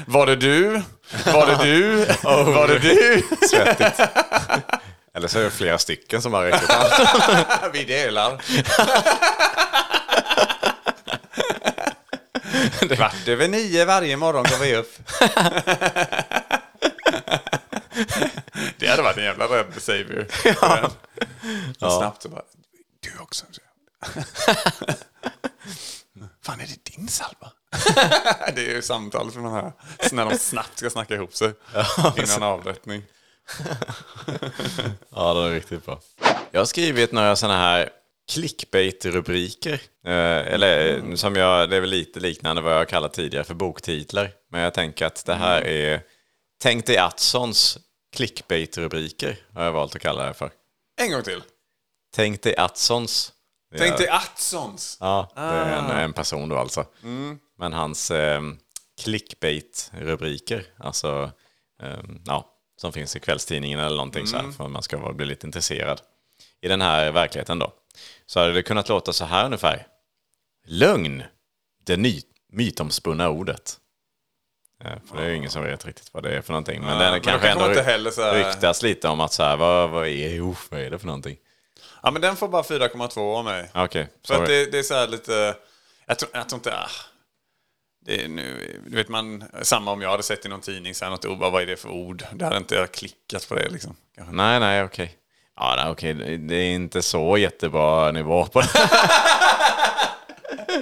C: Var det du? Var det du? Var det du?
A: Svettigt. Eller så är det flera stycken som har räckt upp handen.
C: Vi delar. Kvart över nio varje morgon går vi upp. Det hade varit en jävla rädd savior. Ja. Snabbt så bara, du också. Fan, är det din salva? det är ju samtal som man hör. Så när de snabbt ska snacka ihop sig innan avrättning.
A: Ja, det är riktigt bra. Jag har skrivit några sådana här clickbait-rubriker. Eh, eller eh, som jag, det är väl lite liknande vad jag kallat tidigare för boktitlar. Men jag tänker att det här
C: Mm.
A: är Tänk dig Attsons clickbait-rubriker har jag valt att kalla det för.
C: En gång till.
A: Tänk dig Attsons. Det är-
C: Tänk dig Attsons.
A: Ja, det är en,
C: Ah.
A: en person då alltså.
C: Mm.
A: Men hans eh, clickbait-rubriker, alltså eh, ja, som finns i kvällstidningen eller någonting så
C: Mm.
A: här, för att man ska vara- bli lite intresserad. I den här verkligheten då, så hade det kunnat låta så här ungefär. Lögn, det ny, mytomspunna ordet. Eh, För det är ju ingen som vet riktigt vad det är för någonting. Men den
C: men då
A: kanske
C: kanske
A: ändå
C: man inte
A: ry-
C: heller så här-
A: ryktas lite om att så här, vad, vad, är, jo, vad är det för någonting?
C: Ja, men den får bara 4,2 av mig.
A: Ah, Okej,
C: För
A: sorry.
C: att det, det är så här lite... Jag tror, jag tror inte... Ah, det är nu, du vet man, samma om jag hade sett i någon tidning, så här något ord, bara, vad är det för ord? Det hade inte jag klickat på det liksom. Kanske.
A: Nej, nej, okej. Ja, nej, okej. Det är inte så jättebra nivå på det.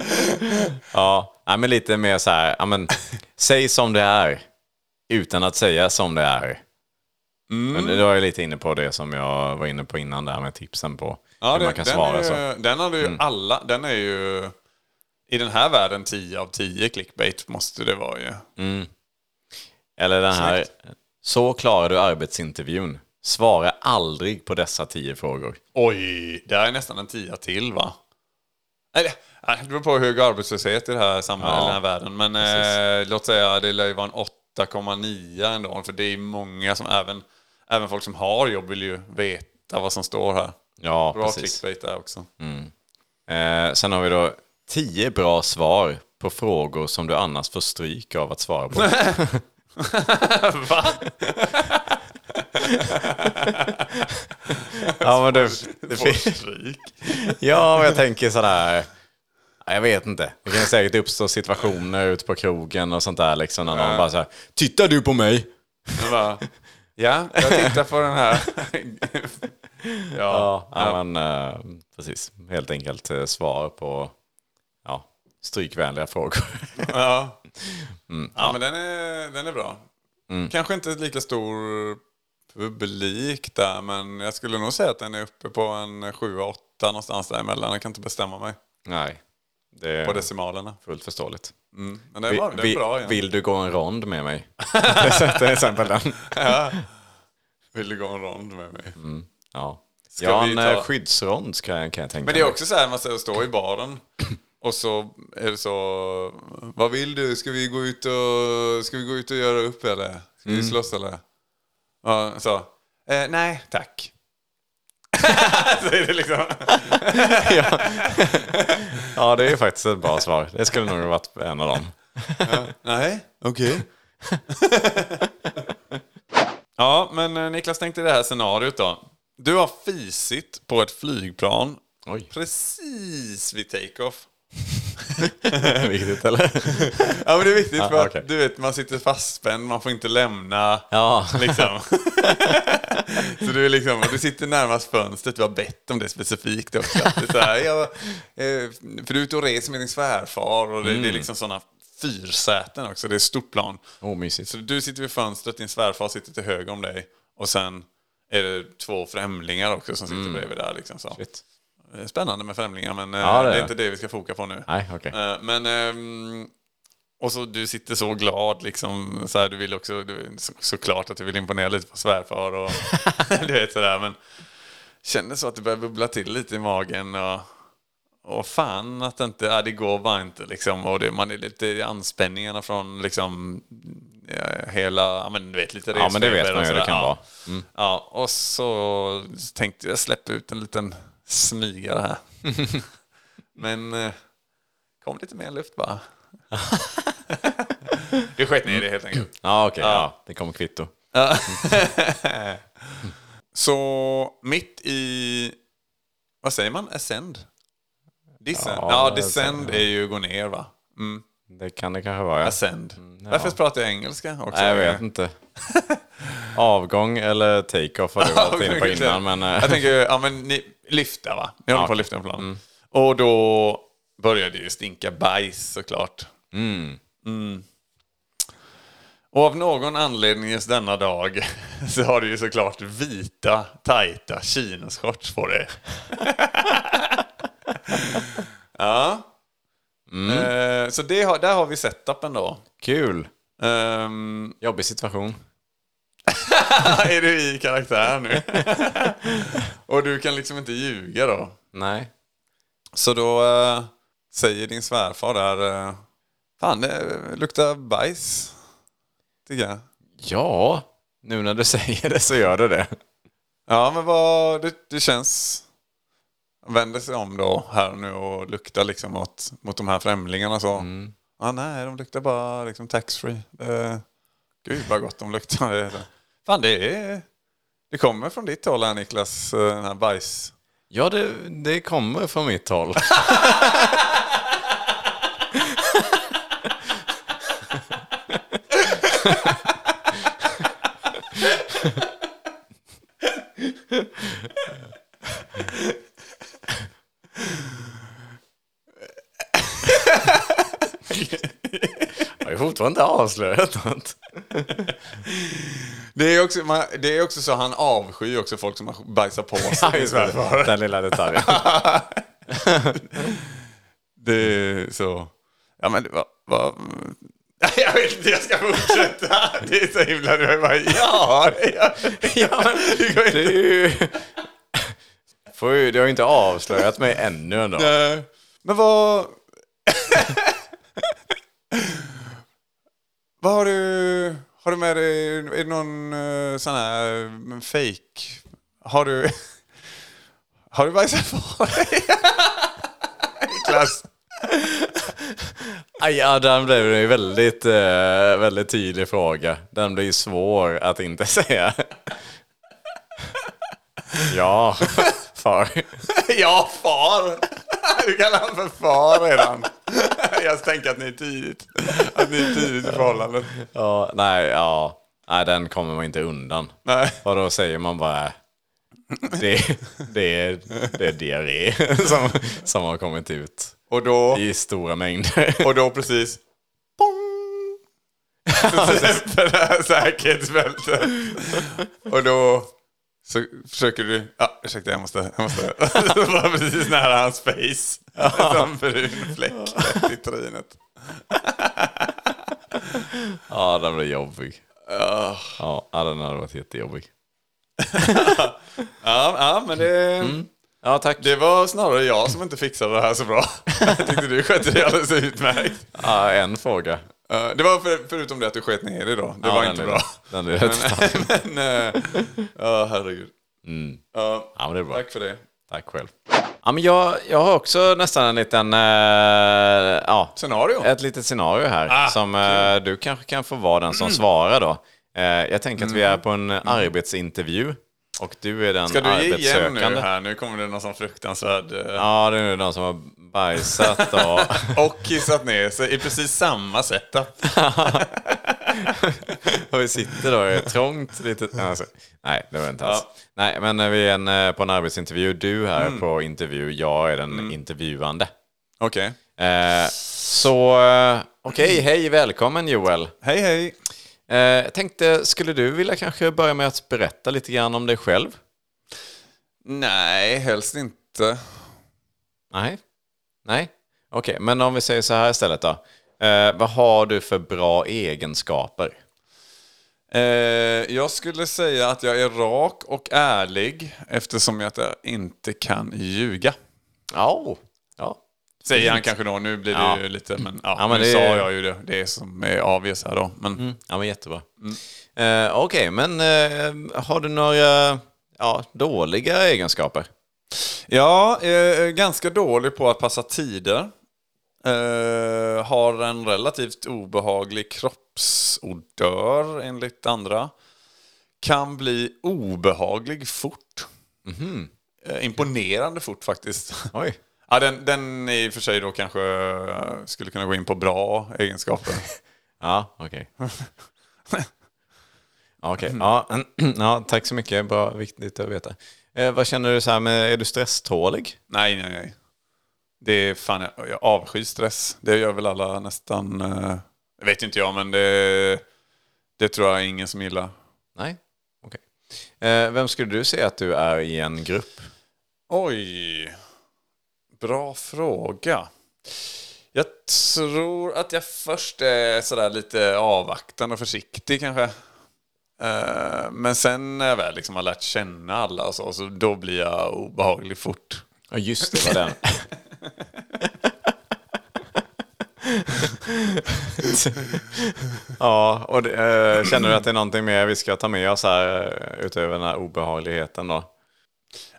A: ja, nej, men lite mer så här, ja, men, säg som det är utan att säga som det är.
C: Mm.
A: Men då är jag lite inne på det som jag var inne på innan där med tipsen på hur
C: det-
A: man kan
C: den
A: svara alltså. Mm.
C: är ju,
A: så.
C: Den har du ju alla, den är ju... I den här världen 10 av 10 clickbait måste det vara ju.
A: Eller den här, så klarar du arbetsintervjun. Svara aldrig på dessa tio frågor.
C: Oj, där är nästan en 10 till va? Nej, det- nej, Det beror på hur hög arbetslöshet i det här samhället,
A: Ja,
C: i den här världen. Men eh, låt säga det lär ju vara en 8,9 ändå. För det är många som, även, även folk som har jobb vill ju veta vad som står här.
A: Ja,
C: Bra
A: precis. Mm.
C: clickbait där också.
A: Eh, sen har vi då 10 bra svar på frågor som du annars får stryk av att svara på.
C: Va?
A: ja, men du,
C: Får stryk.
A: ja, men jag tänker sådär. Ja, Jag vet inte. Det kan säkert uppstå situationer ute på krogen och sånt där. Liksom, när någon bara så här, tittar du på mig?
C: Men va? Ja, jag tittar på den här. ja.
A: Ja, men, eh, precis. Helt enkelt eh, svar på ja, strykvänliga frågor.
C: Ja.
A: Mm.
C: ja, men den är, den är bra. Kanske inte lika stor publik där, men jag skulle nog säga att den är uppe på en 7-8 någonstans däremellan. Jag kan inte bestämma mig
A: Nej, det
C: på
A: är
C: decimalerna.
A: fullt förståligt.
C: Men det är bra. Det är
A: Mm. Vi-
C: bra igen.
A: vill du gå en rond med mig? Till exempel den.
C: Vill du gå en rond med mig?
A: Mm. Ja, ja
C: vi
A: en
C: ta-
A: eh, skyddsrond ska jag, kan jag tänka
C: Men det är
A: mig.
C: också så här, man säger, står i baren och så är det så, vad vill du? Ska vi gå ut och, ska vi gå ut och göra upp eller? Ska
A: Mm.
C: vi slåss eller? Ja, så, eh, nej tack. så är det liksom,
A: Ja, det är faktiskt ett bra svar. Det skulle nog ha varit en av dem.
C: nej, okej. ja, men eh, Niklas, tänk dig det här scenariot då. Du har fisit på ett flygplan
A: Oj.
C: precis vid take-off.
A: Viktigt eller?
C: Ja men det är viktigt
A: Ja,
C: för att
A: okej.
C: du vet, man sitter fastspänd, man får inte lämna.
A: Ja,
C: Liksom. så du, är liksom, du sitter närmast fönstret, du har bett om det specifikt också. Att Det är så här, jag, eh, för du är ute och reser med din svärfar och det, det är liksom sådana fyrsäten också, det är stort plan.
A: omysigt.
C: Så du sitter vid fönstret, din svärfar sitter till höger om dig och sen är det två främlingar också som sitter bredvid där. Liksom, så.
A: Mm. Shit.
C: Eh, Spännande med främlingar men eh,
A: Ja, det
C: det,
A: är
C: är
A: det.
C: inte det vi ska foka på nu.
A: Nej, okej.
C: Eh, Men, ehm, och så du sitter så glad liksom. Så här, du vill också, du, så, såklart att du vill imponera lite på svärfar och du vet sådär. Men känner så att det börjar bubbla till lite i magen. Och, och fan att det inte, ja, det går bara inte liksom. Och det, man är lite anspänningarna från liksom eh, hela, ja men du vet lite
A: Ja, men det vet
C: resfeber
A: man
C: och
A: ju det
C: sådär.
A: kan
C: ja.
A: vara. Mm.
C: Ja, och så tänkte jag släppa ut en liten smygare här. Men eh, kom lite mer luft bara. du sket ner det helt enkelt.
A: Ja, okej. Ja, det kommer kvitto.
C: Så mitt i, vad säger man, ascend? Descend?
A: Ja,
C: Ja, descend är ju gå ner va? Mm.
A: Det kan det kanske vara. Ja.
C: Ascend. Varför pratar Mm, jag engelska också?
A: Nej, jag vet inte. Avgång eller take-off har du varit inne på innan. Men, eh,
C: jag tänker, ja men ni lyfta va? Ni håller
A: Ja. Mm.
C: på att lyfta en plan. Och då började det ju stinka bajs såklart. Mm. Och av någon anledning just denna dag så har du ju såklart vita, tajta chinoshorts på dig. ja.
A: Mm.
C: Eh, så det har, där har vi setupen då.
A: kul.
C: Ehm,
A: Jobbig situation.
C: är du i karaktär nu. och du kan liksom inte ljuga då.
A: Nej.
C: Så då eh, säger din svärfar där, eh, fan det luktar bajs. Tycker jag.
A: Ja, nu när du säger det så gör det det.
C: Ja men vad, det, det känns. Vänder sig om då här nu och luktar liksom mot, mot de här främlingarna så. Ah, nej, de luktar bara liksom taxfree. Eh, gud vad gott de luktar. Det är så. Fan det är, det kommer från ditt håll här Niklas, eh, den här bajs.
A: Ja, det, det kommer från mitt håll. Jag har ju fortfarande inte avslöjat något.
C: Det är, också, man, det är också så, han avskyr också folk som har bajsat på sig.
A: Ja, just det. Den lilla detaljen.
C: Det är så... Ja men det var... var... Jag vet inte, jag ska fortsätta. Det är så himla... Jag bara, ja, det gör jag.
A: Ja, men
C: Det går inte.
A: du... Får ju, du har ju inte avslöjat mig ännu ändå.
C: Eh, Men vad... vad har du... Har du med dig... Är det någon eh, sån här eh, fake... Har du... Har du bajsat på dig? Niklas.
A: Aj, ja, den blev ju en väldigt, eh, väldigt tydlig fråga. Den blir svår att inte säga. Ja, far.
C: Ja, far! Du kallar honom för far redan. Jag tänker att ni är tidigt. Att ni är tidigt i förhållandet.
A: Ja, nej, ja. Nej, den kommer man inte undan.
C: Nej.
A: Vad då säger man bara? Det, det, är, det är diarré som, som har kommit ut
C: Och då,
A: i stora mängder.
C: och då precis... Pong! Så släpper det här säkerhetsbältet. Och då så försöker du... Ja, ursäkta, jag måste... Jag måste. Så var precis nära hans face. Som brun fläck i trynet.
A: Ja, den blev jobbig. Ja, ja, den hade varit jättejobbig.
C: Ja, ja, men det...
A: Ja, tack.
C: Det var snarare jag som inte fixade det här så bra. Jag tyckte du skötte det alldeles utmärkt.
A: Ja, en fråga.
C: Eh, Det var för, förutom det att du sket ner dig då. Det
A: Ja,
C: var
A: den
C: inte
A: är-
C: bra.
A: Den är rätt
C: Men, eh, ja herregud.
A: Mm.
C: Ja,
A: Ja, men det är bra.
C: tack för det.
A: Tack själv. Ja, men jag, jag har också nästan en liten... Eh, ja,
C: Scenario.
A: ett litet scenario här
C: Ah,
A: som eh, du Mm. kanske kan få vara den som svarar då. Eh, jag tänker att vi är på en arbetsintervju Och Mm. du är den
C: Ska du ge igen nu
A: arbetssökande.
C: här? Nu kommer det någon sån fruktansvärd... eh,
A: Ja, det är nog någon som har bajsat och...
C: Och kissat ner sig i precis samma setup.
A: och vi sitter då i ett trångt litet... Alltså, nej, det var inte alls.
C: Ja.
A: Nej, men eh, vi är en, eh, på en arbetsintervju. Du här på intervju, jag är den intervjuande.
C: Okej.
A: Eh, så, eh, okej, hej, välkommen Joel.
C: Hej, hej.
A: Eh, jag tänkte, skulle du vilja kanske börja med att berätta lite grann om dig själv?
C: Nej, helst inte.
A: Nej, nej. Okej, men om vi säger så här istället då. Eh, vad har du för bra egenskaper?
C: Eh, jag skulle säga att jag är rak och ärlig eftersom jag inte kan ljuga.
A: Ja, ja.
C: Säger han kanske då. Nu blir det
A: Ja.
C: ju lite... Men, ja,
A: Ja, men
C: nu
A: det- Mm.
C: sa jag ju det. Det är som är obvious här då. Men
A: Ja, men jättebra. Eh, Okej, men eh, har du några ja, dåliga egenskaper?
C: Ja, eh, ganska dålig på att passa tider. Eh, har en relativt obehaglig kroppsodör enligt andra. Kan bli obehaglig fort.
A: Mhm.
C: Eh, imponerande fort faktiskt.
A: Oj.
C: ja, den, den i och för sig då kanske eh, skulle kunna gå in på bra egenskaper.
A: Ja, okej. Ja, Okej, ja, ja, tack så mycket. Bra, viktigt att veta. Eh, vad känner du så här med, är du stresstålig?
C: nej, nej, nej. Det är fan, jag, jag avskyr stress. Det gör väl alla nästan. Eh, det vet inte jag, men det, det tror jag ingen som gillar.
A: Nej, okej. Eh, vem skulle du säga att du är i en grupp?
C: Oj, bra fråga. Jag tror att jag först är sådär lite avvaktande och försiktig kanske. Eh, Men sen när jag väl liksom har lärt känna alla och så, så då blir jag obehaglig fort.
A: Ja, just det, var den. ja, och det, eh, känner du att det är någonting mer vi ska ta med oss här eh, utöver den här obehagligheten då?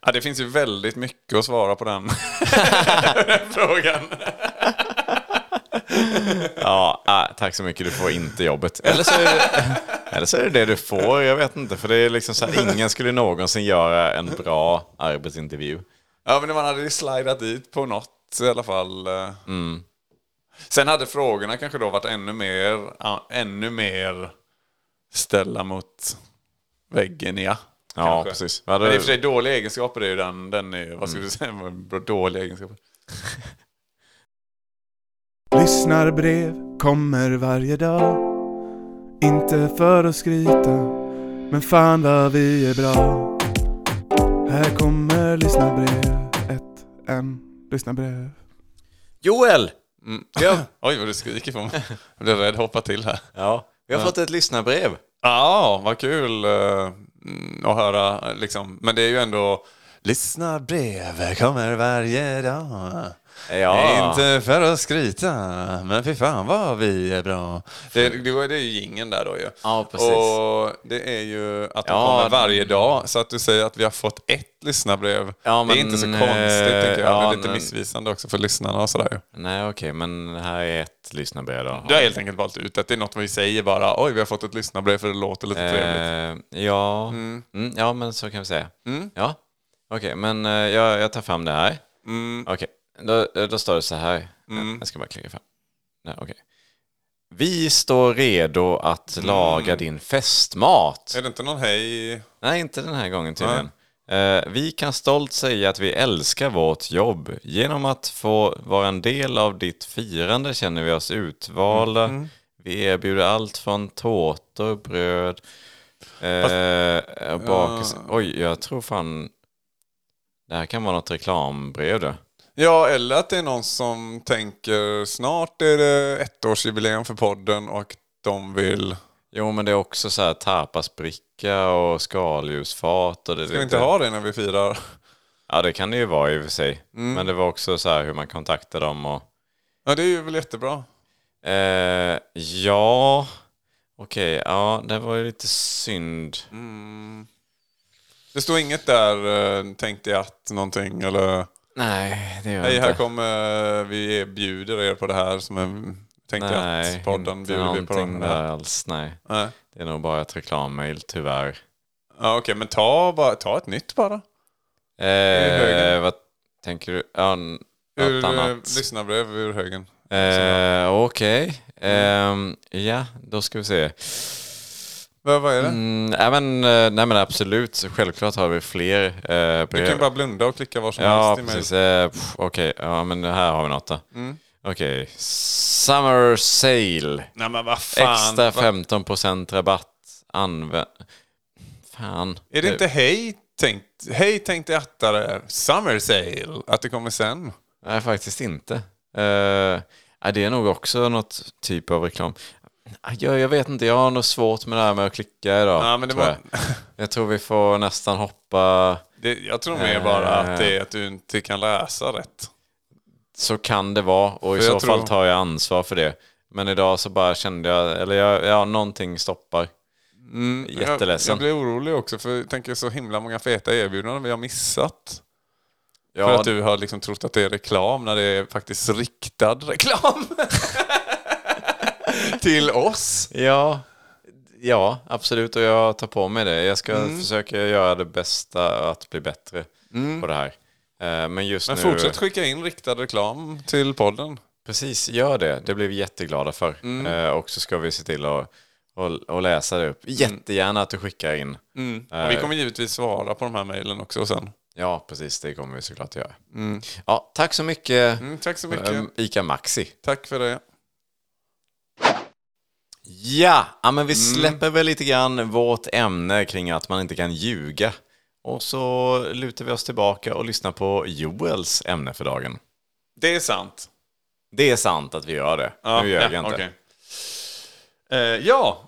C: Ja, det finns ju väldigt mycket att svara på den, den frågan.
A: Ja, ah, tack så mycket, du får inte jobbet. Eller så, är det, eller så är det det du får, jag vet inte. För det är liksom så här, ingen skulle någonsin göra en bra arbetsintervju.
C: Ja, men man hade ju slidat dit på något i alla fall. eh. Sen hade frågorna kanske då varit ännu mer, ja, ännu mer ställa mot väggen, ja.
A: Ja,
C: Kanske.
A: precis. Vad
C: Men det
A: hade-
C: Mm. är i och för sig dåliga egenskaper, det är ju den, den är, ju- vad skulle du säga, dåliga egenskaper.
B: Lyssnarbrev kommer varje dag. Inte för att skryta, men fan vad vi är bra. Här kommer lyssnarbrev, ett, en, lyssnarbrev.
A: Joel! Mm, vi har,
C: Oj, vad du skriker på mig. Jag blev rädd, hoppa till här.
A: ja, vi har fått ett lyssnarbrev.
C: Ja, vad kul eh, mm, att höra. eh, Liksom. Men det är ju ändå... Lyssna brev kommer varje dag.
A: Ja.
C: Inte för att skryta, men fy fan vad vi är bra. Det, det, var- det är ju jingeln där då ju.
A: Ja, precis.
C: Och det är ju att det
A: Ja,
C: kommer
A: den-
C: varje dag. Så att du säger att vi har fått ett lyssnarbrev.
A: Ja,
C: det är inte så
A: men,
C: konstigt
A: eh,
C: tycker jag.
A: ja,
C: det är lite
A: men-
C: missvisande också för lyssnarna och sådär ju.
A: Nej, okej, men här är ett lyssnarbrev då.
C: Du har helt enkelt valt ut att det är något vi säger bara. Oj, vi har fått ett lyssnarbrev för det låter lite trevligt. mm,
A: Eh, ja. Mm, ja, men så kan vi säga. Ja. Okej, men eh, jag, jag tar fram det här.
C: mm.
A: Okej, då, då står det så här. Jag ska bara klicka fram. Nej, okej. Vi står redo att laga din festmat.
C: Är det inte någon hej?
A: Nej, inte den här gången tydligen. Eh, vi kan stolt säga att vi älskar vårt jobb. Genom att få vara en del av ditt firande känner vi oss utvalda.
C: Mm.
A: Vi erbjuder allt från tårtor, bröd, eh, och bakelse. Oj, jag tror fan... Det här kan vara något reklambrev då.
C: Ja, eller att det är någon som tänker snart är det ettårsjubileum för podden och de vill...
A: Jo, men det är också så här tapasbricka och skaldjursfat. Och det
C: Ska vi inte ha det när vi firar?
A: Ja, det kan det ju vara i och för sig.
C: Mm.
A: Men det var också så här hur man kontaktar dem och...
C: Ja, det är ju väl jättebra.
A: Eh, ja, okej. Ja, det var ju lite synd.
C: Mm. Det står inget där, eh, tänkte jag att någonting eller...
A: Nej, det gör
C: Hej,
A: inte.
C: här kommer... eh, Vi erbjuder er på det här som är... Tänkte jag
A: Nej,
C: att podden
A: inte
C: bjuder vi på
A: någonting
C: den
A: där
C: här.
A: alls. Nej,
C: Nej.
A: det är nog bara ett reklammail tyvärr.
C: Ja, Okej, men ta, bara, ta ett nytt bara.
A: Eh, vad tänker du? Ja, n-
C: Ur,
A: något
C: eh,
A: annat.
C: lyssnarbrev ur högen.
A: Eh, Okej.
C: Mm.
A: Ehm, ja, då ska vi se.
C: Vad, vad är det?
A: Mm, nej, men, eh, nej men absolut, så självklart har vi fler eh, brev.
C: Du kan ju bara blunda och klicka var som
A: Ja,
C: helst i
A: precis.
C: mejl. Mm.
A: Eh, pff, Okej, ja, men här har vi något då. Okej, Summer Sale.
C: Nej men vad fan.
A: Extra
C: Vad-
A: 15% rabatt. Använd... Fan.
C: Är det inte hej tänkt, hej tänkte attare, summer sale, att det kommer sen?
A: Nej, faktiskt inte. Eh, nej, det är nog också något typ av reklam. Ah, Jag, jag vet inte, jag har nog svårt med det här med att klicka idag.
C: Ja, men det
A: tror
C: var-
A: jag. jag tror vi får nästan hoppa...
C: Det, jag tror mer bara att det är att du inte kan läsa rätt.
A: Så kan det vara och i
C: För
A: så
C: jag
A: fall
C: tror-
A: tar jag ansvar för det. Men idag så bara kände jag, eller jag, ja, någonting stoppar. Jätteledsen.
C: Mm, Jag, jag blir orolig också för jag tänker så himla många feta erbjudanden vi har missat.
A: Ja,
C: För att du har liksom trott att det är reklam när det är faktiskt riktad reklam. Till oss.
A: ja, ja, absolut och jag tar på mig det. Jag ska
C: Mm.
A: försöka göra det bästa att bli bättre på det här. Eh, Men just
C: Mm. Men
A: Mm. nu...
C: fortsätt skicka in riktad reklam till podden.
A: Precis, gör det. Det blir vi jätteglada för.
C: Mm.
A: Eh, och så ska vi se till att att- att läsa det upp.
C: Mm.
A: Jättegärna att du skickar in.
C: Och vi kommer givetvis svara på de här mejlen också sen.
A: Ja, precis. Det kommer vi såklart att göra. Ja, tack så mycket,
C: Mm, tack så mycket.
A: eh, Ica Maxi.
C: Tack för det.
A: Ja, ja, men vi
C: Mm.
A: släpper väl lite grann vårt ämne kring att man inte kan ljuga. Och så lutar vi oss tillbaka och lyssnar på Joels ämne för dagen.
C: Det är sant.
A: Det är sant att vi gör det. nu gör jag inte.
C: okej. Eh, ja,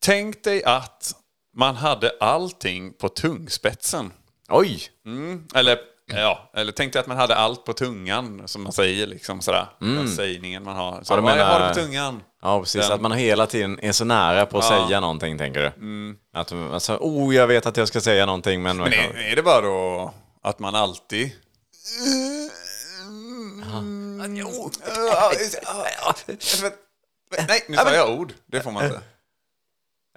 C: tänk dig att man hade allting på tungspetsen.
A: Oj!
C: Mm. Eller, ja, eller tänk dig att man hade allt på tungan, som man säger. Liksom sådär. Den sägningen man har. Så,
A: Mm. Ja, du
C: ja, jag
A: menar-
C: har det på tungan.
A: Ja, precis.
C: Den-
A: Att man hela tiden är så nära på att
C: Ja. Mm.
A: säga någonting, tänker du? Att man alltså, oh, jag vet att jag ska säga någonting, men...
C: Men är, är det bara då att man alltid... Nej, nu sa jag ord. Det får man inte.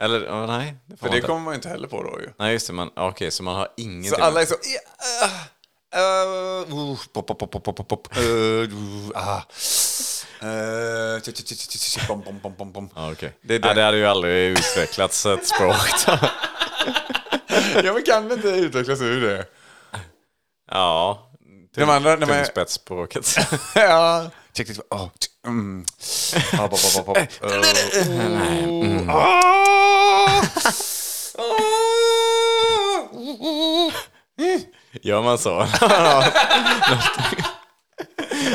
A: Eller, oh, nej. Det får
C: För
A: man
C: det
A: inte.
C: kommer man ju inte heller på då ju.
A: Nej, just det. Man, okej, så man har ingenting...
C: Så alla är så... "Ja, ah, eh, oh, pop, pop, pop, pop, pop, pop, pop, eh, oh, ah, eh, tj, tj, tj, tj, tj, tj, bom, bom, bom, bom, bom."
A: Ja, okej.
C: Det är
A: Ja,
C: det.
A: det hade ju aldrig utvecklats ett språk.
C: Ja, men kan det inte utvecklas ur det?
A: ja.
C: De andra, de är...
A: Tungspetsspråket.
C: Ja. Tj, tj, tj, ah, tj, mm. Ah, pop, pop, pop, pop, eh,
A: Mm. Mm.
C: oh, ah, ah.
A: Gör man så? Någonting.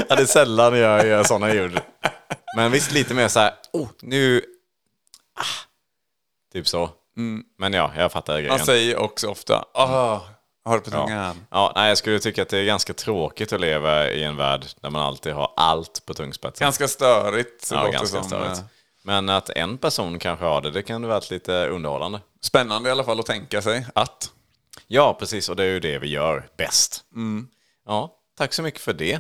A: ja, det är sällan jag gör sådana ljud. Men visst, lite mer så här, oh, nu... Ah, typ så. Men ja, jag fattar grejen.
C: Mm. Man säger också ofta... Ah, har det på tungan.
A: Ja, nej, jag skulle tycka att det är ganska tråkigt att leva i en värld där man alltid har allt på tungspetsen.
C: Ganska störigt.
A: ja,
C: låter
A: ganska
C: som,
A: störigt.
C: eh,
A: Men att en person kanske har det, det kan vara lite underhållande.
C: Spännande i alla fall att tänka sig att...
A: Ja, precis, och det är ju det vi gör bäst.
C: Mm.
A: Ja, tack så mycket för det.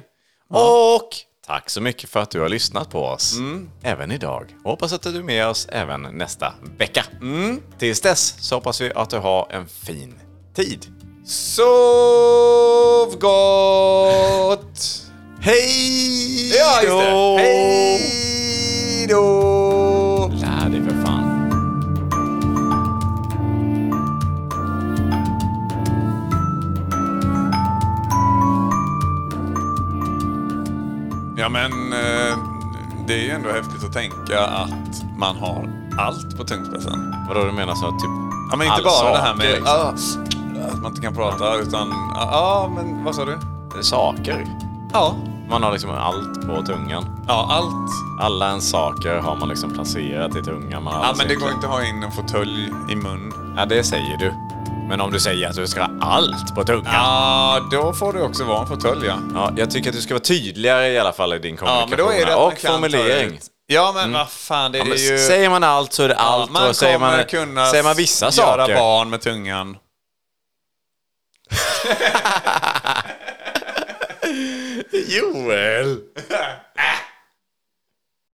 A: Och tack så mycket för att du har lyssnat på oss
C: Mm.
A: även idag. Och hoppas att du är med oss även nästa vecka.
C: Mm.
A: Tills dess så hoppas vi att du har en fin tid.
C: Sov gott!
A: Hej
C: Ja, just det.
A: då!
C: Hej då!
A: Lär dig för fan.
C: Ja, men eh, det är ju ändå häftigt att tänka att man har allt på tungspetsen.
A: Vadå du menar så typ?
C: Ja, men inte
A: All
C: bara det här
A: saker,
C: med
A: liksom.
C: ah, att man inte kan prata, utan... Ja, ah, men vad sa du?
A: Saker.
C: Ja.
A: Man har liksom allt på tungan.
C: Ja, allt.
A: Alla ens saker har man liksom placerat i tungan. Man har
C: Ja,
A: alltså
C: men det
A: inte-
C: går inte att ha in en fåtölj i mun.
A: Ja, det säger du. Men om du säger att du ska ha allt på tungan. Ja.
C: Ja, då får det också vara en fåtölj, ja.
A: jag tycker att du ska vara tydligare i alla fall i din
C: Ja,
A: kommunikation.
C: men då är det att man
A: och
C: kan ta
A: formulering. Mm.
C: ut- Ja, men vad fan, det är
A: Ja, men
C: ju...
A: Säger man allt så är det
C: Ja,
A: allt. och säger
C: kommer
A: man,
C: kunna
A: säger man vissa
C: göra
A: saker.
C: barn med tungan.
A: Joel!